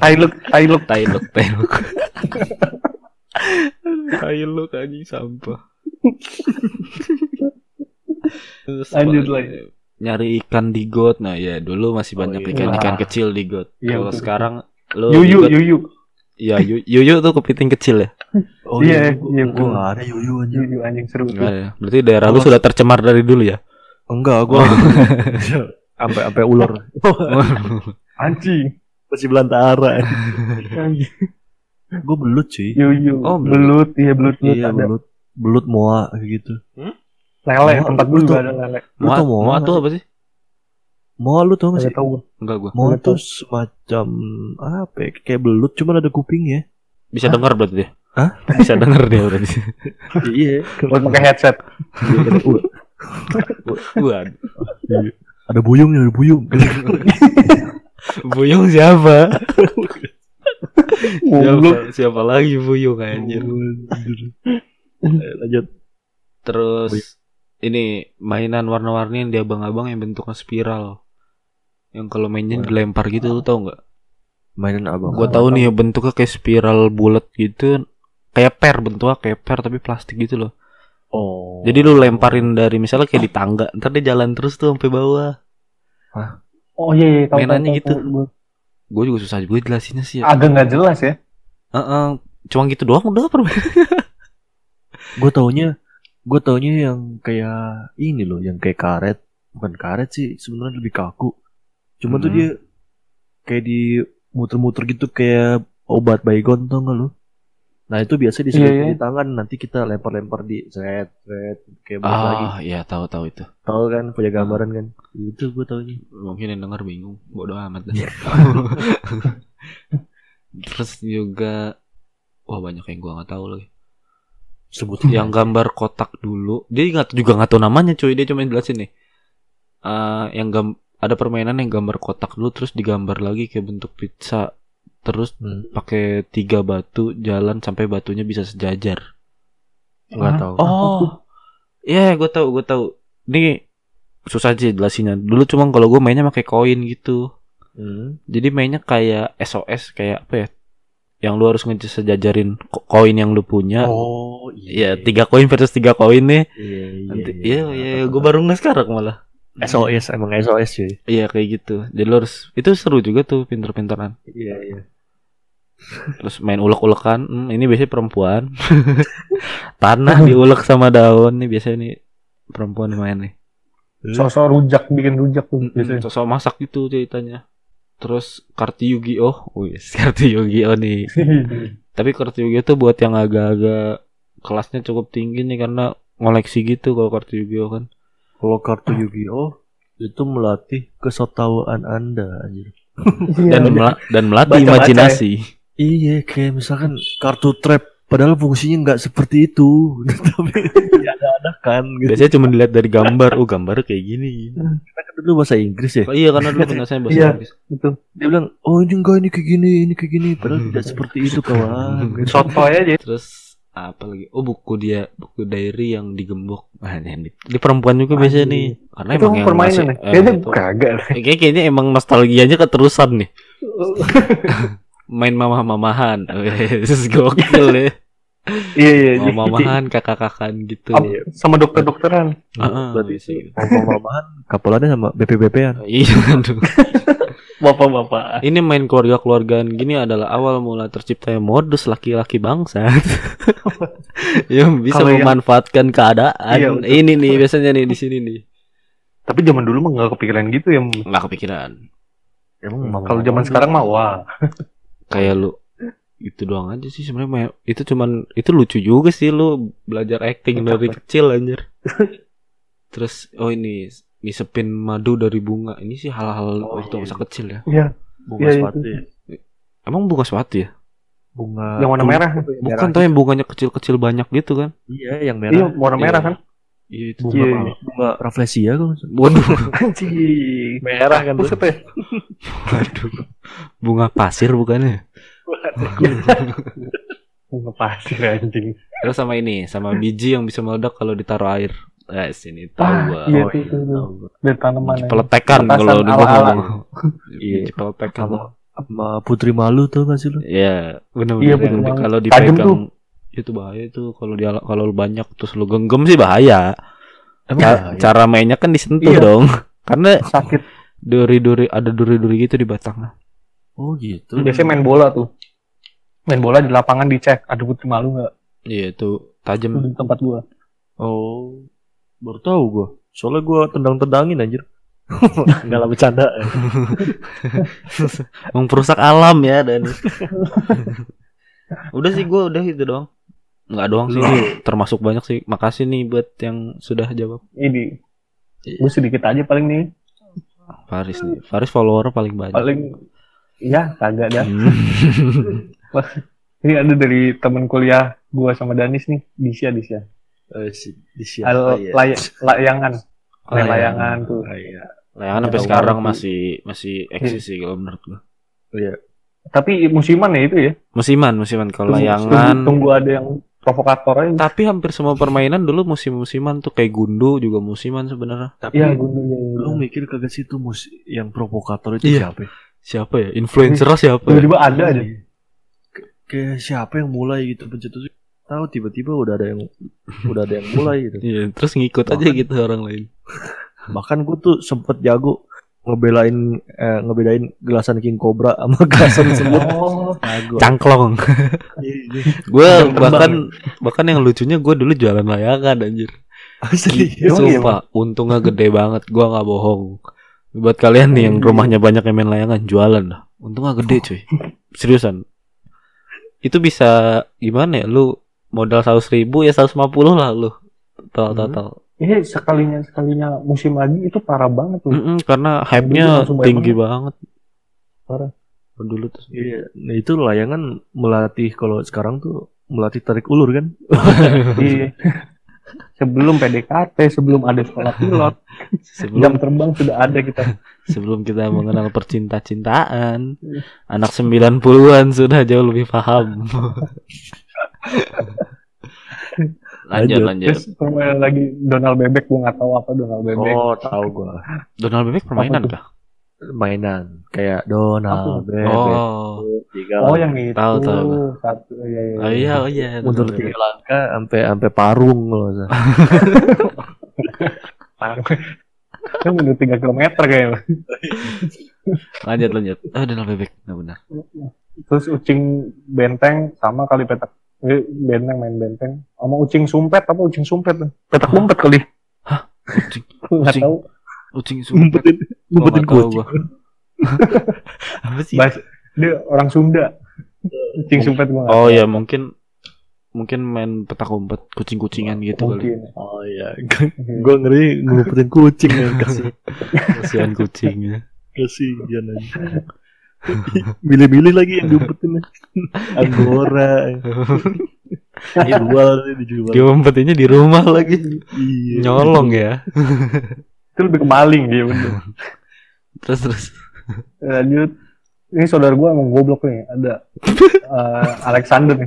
Tailuk tailuk.
tailuk tailuk tailuk anjing sampah Terus
Lanjut
apa-
lagi.
nyari ikan di got nah ya dulu masih
Oh,
banyak
iya.
ikan ikan
Wah.
kecil di got
Iya,
kalau
betul.
sekarang lo di
Yuyu
got-
yuyu.
ya yu- yuyu tuh kepiting kecil ya
oh
Iya,
gua-
iya,
gua
gua-
nggak ada yoyo anjir
Yuyu anjing seru.
Nggak ada. Iya, berarti daerah lu
Iya, Awas.
sudah tercemar dari dulu ya
enggak
Oh.
gue sampai sampai ular
Anjing.
masih belantara
Anjing.
gue belut cuy
Yuyu.
Oh,
belut. Iya belut belut
iya
Iya, ada.
belut belut moa kayak gitu
Oh,
Lele
Moa,
tempat gue
belut
juga
tuh.
ada lele.
Lu
Moa,
tau Moa
Moa
nggak
tuh
sih?
apa sih
moa lu tau gak
Enggak
sih
tahu.
enggak gua
moa
Nggak
tuh semacam apa ya, kayak belut cuman ada kupingnya
bisa dengar berarti dia
Hah?
bisa dengar dia berarti
iya
Buat pakai headset.
Waduh.
Ada buyung ya, ada buyung.
Buyung siapa? siapa?
Goblok.
Siapa lagi Buyung Iya, anjir?
Eh, Lanjut.
Terus
Buyung.
ini mainan warna-warni yang di abang-abang yang bentuknya spiral. Yang kalau mainnya dilempar gitu lu tau nggak?
Mainan abang.
Gua tahu nih ya bentuknya kayak spiral bulat gitu. Kayak per bentuknya kayak per tapi plastik gitu loh.
Oh.
Jadi lu lemparin dari misalnya kayak di tangga, ntar dia jalan terus tuh sampai bawah.
Oh iya iya tahu,
Mainannya
tahu,
gitu.
tahu, tahu.
Gue juga susah juga jelasinnya sih. Ya.
Agak nggak jelas ya.
Heeh, cuma gitu doang udah permen.
Gue taunya, gue taunya yang kayak ini loh, yang kayak karet. Bukan karet sih, sebenarnya lebih kaku. Cuma tuh
Mhm.
dia kayak di muter-muter gitu kayak obat baygon tau gak lu? Nah itu biasa diselipin
Iya, iya.
di tangan, nanti kita lempar-lempar di zret, zret, kayak balik lagi.
Ah, iya tahu-tahu itu.
Tahu kan, punya gambaran kan? Itu gue taunya.
Mungkin yang denger bingung, bodo amat dah. Terus juga wah banyak yang gua nggak tahu lagi.
Sebutin
Yang gambar kotak dulu, dia nggak juga nggak tahu namanya cuy, dia cuma jelasin nih. Eh, yang gam- ada permainan yang gambar kotak dulu terus digambar lagi kayak bentuk pizza. Terus
Hmm,
pakai tiga batu jalan sampai batunya bisa sejajar.
nggak
Ah,
tahu.
Oh, iya gue tahu gue tahu. Ini susah aja jelasinnya. Dulu cuma kalau gue mainnya pakai koin gitu.
Hmm.
Jadi mainnya kayak SOS kayak apa ya? Yang lu harus ngejajarin ko- koin yang lu punya.
Oh
Ya. Iya, tiga koin versus tiga koin nih.
Iya
Nanti, iya, iya, gue baru nge sekarang malah.
SOS emang SOS cuy.
Iya kayak gitu. Jadi lu harus itu seru juga tuh pinter-pinteran.
Iya iya.
Terus main ulek-ulekan. Hmm, ini biasanya perempuan. Tanah diulek sama daun nih biasanya nih perempuan yang main nih.
Sosok rujak bikin rujak tuh
Hmm,
biasanya.
sosok masak gitu ceritanya terus kartu Yu-Gi-Oh wis kartu Yu-Gi-Oh nih
Iya,
tapi kartu Yu-Gi-Oh tuh buat yang agak-agak kelasnya cukup tinggi nih karena ngoleksi gitu kalau kartu Yu-Gi-Oh kan
Kalau kartu Yu-Gi-Oh itu melatih kesotawaan Anda anjir.
Iya.
dan mela- dan melatih
Baca-baca ya.
imajinasi
Iya, kayak misalkan kartu trap padahal fungsinya nggak seperti itu. Tapi ada-ada kan gitu.
biasanya cuma dilihat dari gambar oh gambarnya kayak gini
Kita kan dulu bahasa Inggris ya.
oh, iya karena dulu penjelasannya bahasa
Iya.
Inggris
Gitu.
Dia bilang, "Oh, ini enggak ini kayak gini, ini kayak gini." Padahal tidak seperti itu, kawan. Gitu.
Sotoy aja.
terus apa lagi oh buku dia buku diary yang digembok nah, ini, ini perempuan juga biasanya
Anjing.
nih karena
itu
Nah, emang yang
permainan
masih-
ya.
eh,
Kayaknya ya?
itu-
kagak.
Kayak- kayaknya emang nostalgianya keterusan nih main mamah-mamahan Wes, gokil ya
Iya iya. jadi-
mamahan kakak-kakan gitu
Ap- Sama dokter-dokteran.
Heeh,
Berarti
bisa gitu.
Mama-mamaan kapolannya sama BPBP-an.
iya aduh.
Bapak-bapak.
ini main keluarga-keluargaan gini adalah awal mula terciptanya modus laki-laki bangsa yang bisa
Kalau yang-
memanfaatkan keadaan
Iya, betul.
ini nih biasanya nih di sini nih
Tapi zaman dulu mah nggak kepikiran gitu ya.
nggak kepikiran
Emang mama-mamaan
Kalau zaman
dulu.
sekarang mah wah.
kayak lu itu doang aja sih sebenarnya main- itu cuman itu lucu juga sih lu belajar acting
Betul,
dari
betul.
kecil anjir terus oh ini ngisepin madu dari bunga ini sih hal-hal
Oh,
waktu
iya.
masa kecil ya
Iya.
bunga
Iya,
sepatu
itu.
ya.
emang bunga sepatu ya
bunga
Yang warna
bul-
merah.
bukan tau ya, yang bunganya kecil-kecil banyak gitu kan
iya yang merah
Iya warna merah kan.
iya itu
bunga
Iya,
apa?
iya.
bunga rafflesia kalau nggak salah.
waduh
Anjing.
merah kan
Buset ya.
waduh bunga pasir ya? bukannya
Bunga pasir anjing.
terus sama ini sama biji yang bisa meledak kalau ditaruh air eh sini tahu
Ah,
gua. Oh,
iya
Oh,
tuh,
iya,
tuh, tuh.
tahu gua.
Dari tanaman. ya.
peletekan
Petasan
kalau di
ala-ala.
ngomong
Iya.
iya peletekan
sama sama putri malu tuh nggak sih lu
Iya,
Iya,
benar-benar
bener
yang
banget.
kalau
Tajam
dipegang ya
tuh.
itu bahaya tuh kalau dia kalau lu banyak terus lu genggam sih bahaya.
emang
Ca-
bahaya?
Cara mainnya kan disentuh
Iya.
dong. Karena
Sakit.
duri-duri ada duri-duri gitu di batangnya.
oh gitu
Biasanya main bola tuh. Main bola di lapangan dicek. Ada putri malu nggak?
Iya, itu
Tuh
tajam.
Di tempat gua.
oh baru tahu gua soalnya gua tendang-tendangin anjir Enggak lah bercanda
Memperusak alam ya dan. udah sih gua udah itu doang. Enggak doang sih, ini termasuk banyak sih. Makasih nih buat yang sudah jawab.
Ini.
Iya.
Gue sedikit aja paling nih.
Faris nih. Faris follower paling banyak.
Paling. Ya kagak dah.
Hmm.
Ini ada dari teman kuliah gua sama Danis nih. Disya Disya.
Eh, si- di siapa
Iya.
Hal
Oh,
ya?
lay- layangan. Main layangan tuh.
Ah, iya.
Layangan sampai
Tahu
sekarang
banget.
masih masih eksis sih kalau menurut gua.
Tapi musiman ya itu ya.
Musiman, musiman kalau
Tunggu-
layangan.
Tunggu, tunggu ada yang provokator aja.
Tapi hampir semua permainan dulu musim-musiman tuh kayak Gundu juga musiman sebenarnya.
Tapi
Iya, gundunya.
lu mikir kagak sih itu mus yang provokator itu
Iya.
siapa?
Siapa ya? Influencer siapa? ya?
Tiba-tiba ada aja.
Kayak siapa yang mulai gitu pencetus? Tahu tiba-tiba udah ada yang udah ada yang mulai gitu.
Iya, terus ngikut aja gitu orang lain.
Bahkan gue tuh sempet jago ngebelain eh, ngebedain gelasan King Cobra sama gelasan semut.
Oh,
Jago.
Cangklong.
Iya,
gue
Yang terbang.
bahkan bahkan yang lucunya gue dulu jualan layangan anjir.
Asli.
Emang iya,
Sumpah, untungnya gede banget. Gue nggak bohong. Buat kalian nih yang
Oh, iya.
rumahnya banyak yang main layangan jualan dah. Untungnya gede cuy. Seriusan. Itu bisa gimana ya? Lu modal 100 ribu ya 150 lah lu. Total
Hmm.
total.
ini iya, sekalinya sekalinya musim lagi itu parah banget tuh.
Mm-mm, karena
Dulu
hype-nya
Hmm. langsung banyak
tinggi banget.
Parah.
Dulu tuh.
Iya, nah itu layangan melatih kalau sekarang tuh melatih tarik ulur kan?
Iya. sebelum PDKT, sebelum ada sekolah pilot, jam
Sebelum
terbang sudah ada kita.
sebelum kita mengenal percinta-cintaan, anak 90-an sudah jauh lebih paham. lanjut,
Lanjut.
lanjut.
Terus permainan lagi Donald Bebek, gua nggak tahu apa Donald Bebek.
Oh, tahu gua.
Donald Bebek permainan
Apa tuh?
kah?
Mainan kayak Donald, bebek,
Oh.
tiga
Oh,
langkah.
yang itu.
Tahu, tahu.
Satu, ya, ya.
Oh iya, oh iya.
mundur
Donald
tiga langkah sampai sampai parung loh.
Kan mundur 3 km
Bebek.
kayaknya.
Lanjut, lanjut. Oh, Donald Bebek. Nah, benar.
Terus ucing benteng sama kali petak eh, benteng main benteng sama ucing sumpet apa ucing sumpet petak umpet kali
Ucing,
nggak
Ucing.
tahu
ucing sumpet. Gua nggak
ngumpetin ngumpetin
tahu
kucing.
gua. Apa sih?
bahas dia orang Sunda ucing sumpet gua nggak
Oh
tahu.
ya, mungkin mungkin main petak umpet kucing-kucingan gitu kali.
mungkin
Oh iya, gue ngeri ngumpetin kucing ya kasih
Kasihan kucingnya.
kasih jangan aja. Milih-milih lagi yang diumpetin Anggora Dijual nih, dijual
Dia umpetinnya di rumah lagi.
Iya.
Nyolong ya.
itu lebih ke maling dia bener
Terus terus.
lanjut ini saudara gua emang goblok nih ada eh, Alexander nih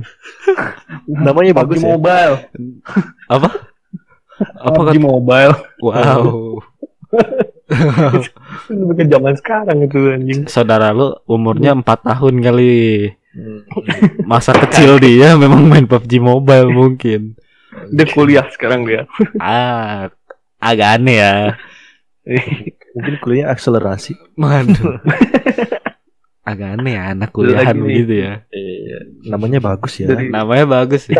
Namanya
PUBG
bagus ya
Mobile
Apa? Apa
PUBG
kata?
Mobile
Wow.
Itu lebih ke zaman sekarang itu anjing
Saudara lu umurnya 4 tahun kali.
Hmm.
Masa kecil dia memang main PUBG Mobile mungkin.
dia kuliah sekarang dia
Ah, agak aneh ya.
Mungkin kuliahnya akselerasi
Waduh. Agak aneh ya anak kuliahan
Lagi nih.
gitu ya.
Namanya bagus ya
Dari-
Namanya bagus ya.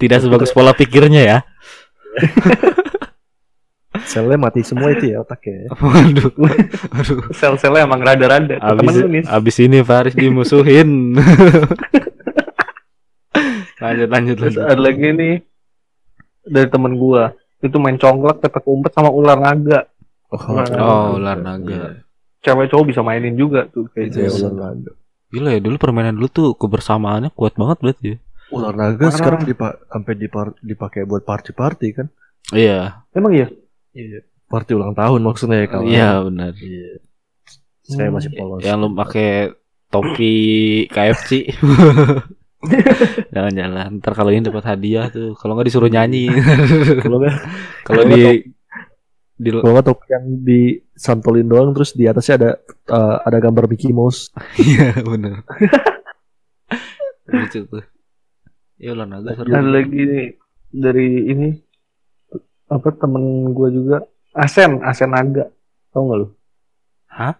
Tidak sebagus pola pikirnya ya.
Selnya mati semua itu ya otaknya
Waduh. Waduh.
sel-selnya emang rada-rada temen
Abis,
lu nih
abis ini Faris dimusuhin. lanjut lanjut
Terus
lanjut.
ada lagi nih dari temen gua itu main congklak, petak umpet sama ular naga.
Oh, ular naga.
Cewek cowok bisa mainin juga tuh
Iya,
kayak
Itu.
gitu.
ular naga.
Gila ya dulu permainan dulu tuh kebersamaannya kuat banget berarti. ya.
Ular naga
Parah.
sekarang dipa sampai dipar- dipakai buat party-party kan?
Iya.
Emang iya?
Iya. Party ulang tahun maksudnya ya kalau.
Iya benar.
Iya. Saya
Hmm.
masih polos.
Yang lu pakai topi KFC. Jangan-jangan ntar kalau ini dapat hadiah tuh. Kalau nggak disuruh nyanyi.
Kalau nggak,
kalau di di
kalau nggak topi yang disantolin doang, terus di atasnya ada eh, ada gambar Mickey Mouse.
Iya benar. Lucu tuh. Ya ular naga seru.
Ada lagi nih dari ini apa temen gua juga Asen, Asen naga. Tau gak lu?
Hah?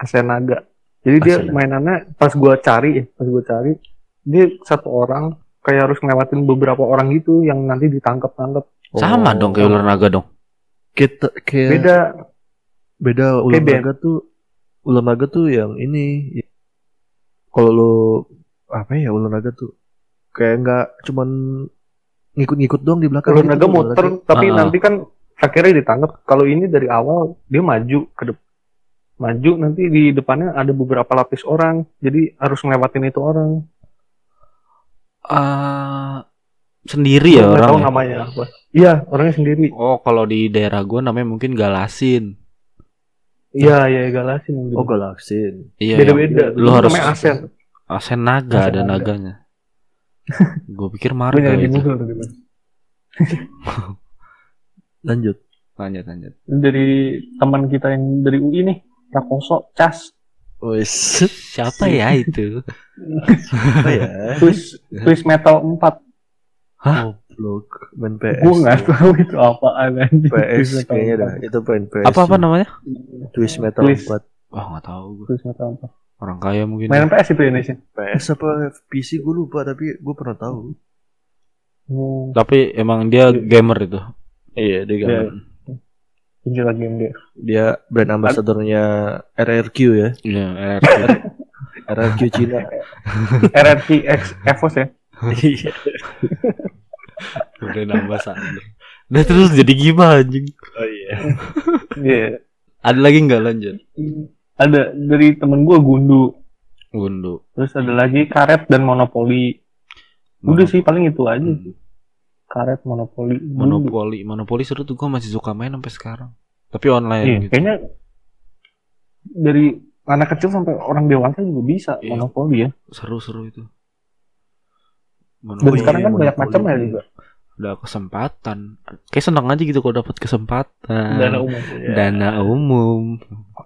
Asen naga. Jadi dia
Asen Naga.
mainannya pas gua cari, eh, pas gua cari dia satu orang kayak harus ngelewatin beberapa orang gitu yang nanti ditangkap-tangkap.
Sama
Oh.
dong kayak ular naga dong.
Kita
Iya.
kayak beda,
Beda
ular
band.
naga tuh ular naga tuh yang ini. Kalau lo apa ya ular naga tuh kayak nggak cuman ngikut-ngikut doang di belakang.
Kalau
gitu
naga
tuh, ular
muter, tapi
Ah.
nanti kan akhirnya ditangkap. Kalau ini dari awal dia maju ke depan. Maju nanti di depannya ada beberapa lapis orang, jadi harus ngelewatin itu orang.
Eh sendiri ya
Gua nggak tahu
orang. ya?
namanya apa. Iya, orangnya sendiri.
Oh, kalau di daerah gua namanya mungkin Galasin.
Iya, iya Galasin. yang
Oh
gitu.
galaksin.
Hmm. Iya. yang-
Beda-beda.
Lu harus-
namanya Asen.
Asen naga
Asen
ada
naga.
naganya. Gue pikir
Gue
marga
nyari gitu,
itu.
di Google tadi. Mas.
Lanjut.
Lanjut lanjut.
Dari teman kita yang dari UI nih, Prakoso, Cas,
Wes.
Siapa ya itu?
Apa
Eh.
ya?
Twist, Twist Metal 4.
Blog main PS.
Gue nggak tahu itu apaan anjing.
PS
Twist Metal
kayaknya dah.
4.
Itu main PS.
Apa apa namanya?
Twist Metal
Twist.
4.
Wah nggak tahu gue.
Twist Metal 4.
Orang kaya mungkin.
Mainan PS itu ya Indonesia.
PS apa PC gue lupa tapi gue pernah tahu.
Hmm,
Tapi emang dia gamer itu.
Iya, dia
gambar. ini lagi yang dia.
Dia brand ambassadornya RRQ ya.
Iya.
RRQ Cina.
RRTX EVOS ya.
Iya.
Udah nambah sandi. Nah terus jadi gimana anjing?
oh iya.
Iya.
Ada lagi nggak lanjut?
Ada dari temen gue Gundu.
Gundu.
Terus ada lagi karet dan monopoli. Udah
Monop-
sih paling itu aja.
Hmm.
Karet monopoli. Gundu.
Monopoli, monopoli seru tuh gue masih suka main sampai sekarang. Tapi online
Iya,
gitu.
kayaknya dari anak kecil sampai orang dewasa juga bisa
Iya.
monopoli ya.
Seru-seru itu.
Oh
Dan
Monopoli
sekarang kan
iya,
banyak
monopoli.
macam ya juga.
udah kesempatan. Kayak seneng aja gitu kalau dapat kesempatan. Iya.
Dana umum. iya.
Dana umum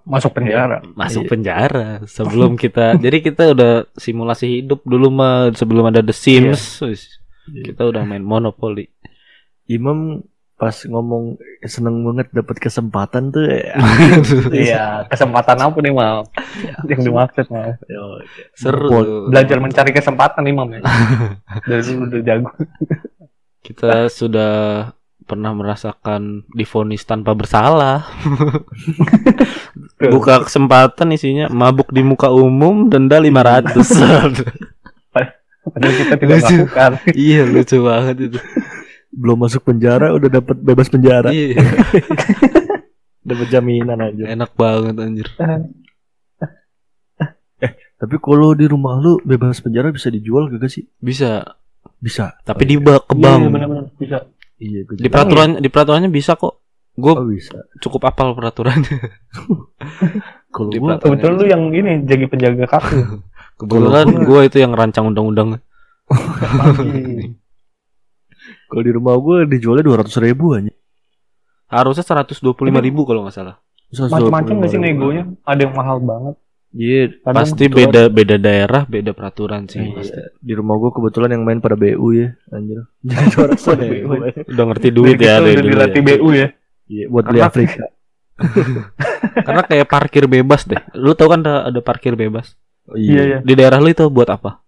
Masuk penjara.
masuk penjara sebelum kita jadi kita udah simulasi hidup dulu mah sebelum ada The Sims Wis,
Iya.
kita udah main Monopoly
Imam pas ngomong seneng banget dapat kesempatan tuh ya.
Iya, kesempatan apa nih mal? Yang dimaksud mal.
seru
Monopoli.
tuh.
Belajar mencari kesempatan nih mam ya. Dari dulu udah jago.
kita sudah pernah merasakan difonis tanpa bersalah
Iya.
buka kesempatan isinya mabuk di muka umum denda 500
Padahal kita tidak
Lucu.
melakukan.
iya lucu banget itu
Belum masuk penjara udah dapat bebas penjara.
iya,
Dapat jaminan aja.
enak banget anjir
Tapi kalau di rumah lu bebas penjara bisa dijual gak sih?
bisa
Bisa.
tapi di ba- ke bank
Iya, benar-benar bisa.
Iya, gue
di peraturan di peraturannya bisa kok gue
Oh, bisa.
cukup apal peraturannya
Kalau
Di
gua
Kebetulan lu yang ini jadi penjaga kafe.
kebetulan
Kalau
gue itu yang rancang undang-undang
Pagi.
kalau di rumah gua dijualnya 200 ribu aja.
harusnya 125 ribu kalau nggak salah
Macam-macam gak sih
125.000.
negonya? Ada yang mahal banget.
Iya,
Kadang
pasti
kebetulan-
beda beda daerah beda peraturan sih
Iya.
pasti.
di rumah gua kebetulan yang main pada BU ya, anjir. ya, Jadi 200 ribu.
udah ngerti
Iya. Dari
duit ya
kecil
dari
udah
dulu
dilatih
ya.
BU ya.
Iya, buat beli
Karena-
Afrika.
karena kayak parkir bebas deh lu tau kan ada, ada parkir bebas
Oh,
Iya, iya.
di daerah lu itu buat apa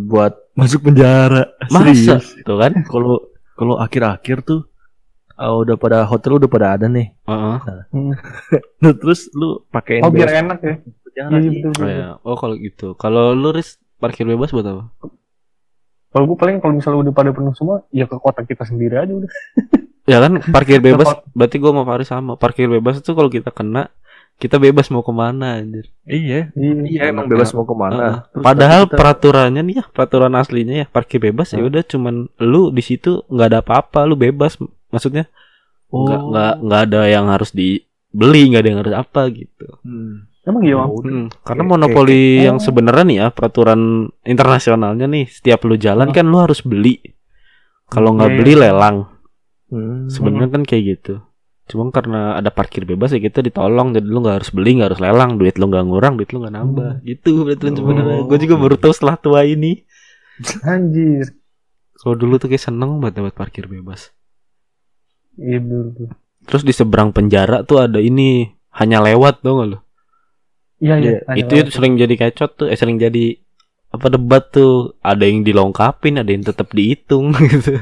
Buat masuk penjara.
masa
Serius.
tuh kan
Kalau kalau akhir-akhir tuh ah, udah pada hotel udah pada ada nih.
Heeh.
Nah, terus lu pakein
Oh biar
bebas
enak ya.
penjara.
Iya
Iya.
betul
oh,
betul.
ya. oh kalau gitu kalau lu ris parkir bebas buat apa
Kalau gue paling kalau misalnya udah pada penuh semua, ya ke kota kita sendiri aja udah.
ya kan parkir bebas
Nah,
berarti gua mau Faris sama parkir bebas itu kalau kita kena kita bebas mau kemana anjir
Iya,
Iya.
iya emang bebas mau kemana.
Heeh.
Terus
Padahal
nanti kita-
peraturannya nih ya, peraturan aslinya ya parkir bebas ya
Heeh.
udah cuman lu di situ nggak ada apa-apa, lu bebas maksudnya
Oh.
nggak nggak nggak ada yang harus dibeli, nggak ada yang harus apa gitu.
Hmm.
Emang iya, Mam?
Hmm, karena
Oke,
monopoli
oke.
yang
Oh.
sebenarnya nih ya peraturan internasionalnya nih setiap lu jalan
Heeh.
kan lu harus beli. Kalau nggak
Iya,
beli lelang,
Hmm.
sebenarnya kan kayak gitu. Cuma karena ada parkir bebas ya kita ditolong jadi lu nggak harus beli, nggak harus lelang, duit lu nggak ngurang, duit lu nggak nambah. Gitu peraturan sebenarnya. Gue juga baru tahu setelah tua ini.
Anjir.
Kalau dulu tuh kayak seneng banget dapat parkir bebas.
Iya betul. betul.
Terus di seberang penjara tuh ada ini hanya lewat dong lo.
Iya iya.
Iya,
Ada
Itu
banget.
sering jadi kecot tuh, eh sering jadi apa debat tuh. Ada yang dilengkapin, ada yang tetap dihitung gitu.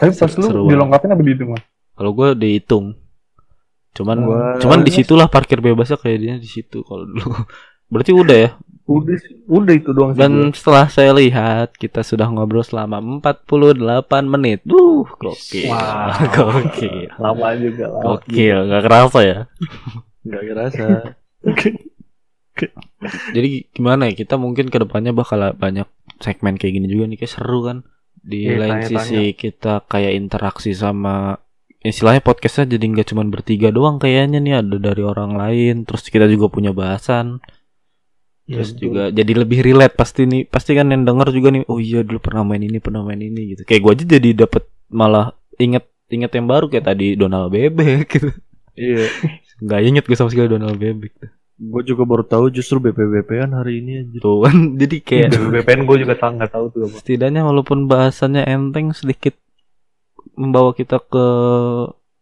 Tapi pas
seru
lu
banget.
dilengkapin apa gitu mah?
Kalau gua dihitung. Cuman
Gua-
cuman disitulah parkir bebasnya kayaknya di situ kalau dulu. Berarti udah ya.
Udah sih- udah itu doang. sih
Dan setelah saya lihat kita sudah ngobrol selama 48 menit. Duh,
gua.
gokil.
Wah.
gokil.
Lama juga lah.
Gokil, gak kerasa ya.
Gak kerasa.
Jadi gimana ya kita mungkin kedepannya bakal banyak segmen kayak gini juga nih kayak seru kan di
Iya,
lain
tanya-tanya.
sisi kita kayak interaksi sama istilahnya podcastnya jadi nggak cuma bertiga doang kayaknya nih ada dari orang lain terus kita juga punya bahasan
Iya, Ya
terus juga jadi lebih relate pasti nih pasti kan yang denger juga nih oh iya dulu pernah main ini pernah main ini gitu kayak gue aja jadi dapet malah inget inget yang baru kayak tadi Donald Bebek gitu
Iya.
nggak inget gue sama sekali Donald Bebek tuh.
Gue juga baru tahu justru BPBP kan hari ini anjir.
tuh kan jadi
Iya.
kayak
BPN gue juga tak nggak tahu tuh apa.
setidaknya walaupun bahasannya enteng sedikit membawa kita ke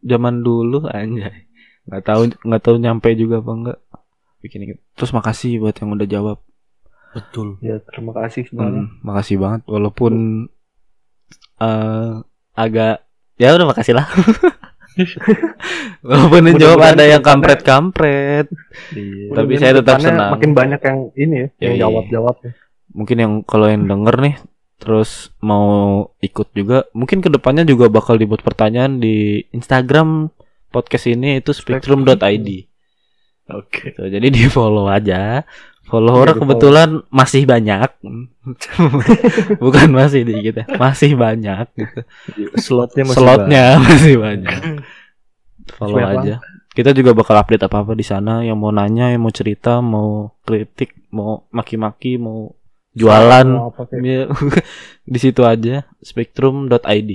zaman dulu anjay nggak tahu nggak tahu nyampe juga apa enggak bikin inget. terus makasih buat yang udah jawab
Betul.
Ya terima kasih
Hmm,
semuanya.
makasih banget walaupun eh agak ya udah makasih lah. walaupun yang jawab
Mudah-mudahan
ada yang
kedepannya-
kampret-kampret.
Iya.
Tapi
Mudah-mudahan
saya tetap
kedepannya
senang. Iya.
Makin banyak yang ini ya, yang
Yoi.
jawab-jawab. ya.
Mungkin yang kalau yang denger nih terus mau ikut juga, mungkin kedepannya juga bakal dibuat pertanyaan di Instagram podcast ini itu spectrum.id.
Oke.
Gitu, jadi di follow aja. Follower
di-follow.
kebetulan masih banyak, bukan masih dikit ya, masih banyak.
Slotnya masih
slotnya masih banyak. Follow
Banyak
aja. Kita juga bakal update apa-apa di sana. Yang mau nanya, yang mau cerita, mau kritik, mau maki-maki, mau jualan,
Mau apa kayak-
ya, di situ aja. Spectrum.id.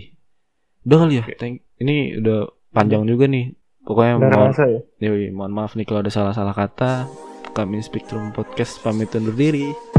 Udah kali ya. Thank- Ini udah panjang juga nih. Pokoknya
Udah
mohon,
rasa ya.
Yoi, mohon maaf nih kalau ada salah-salah kata. Kami Spectrum Podcast pamit undur diri.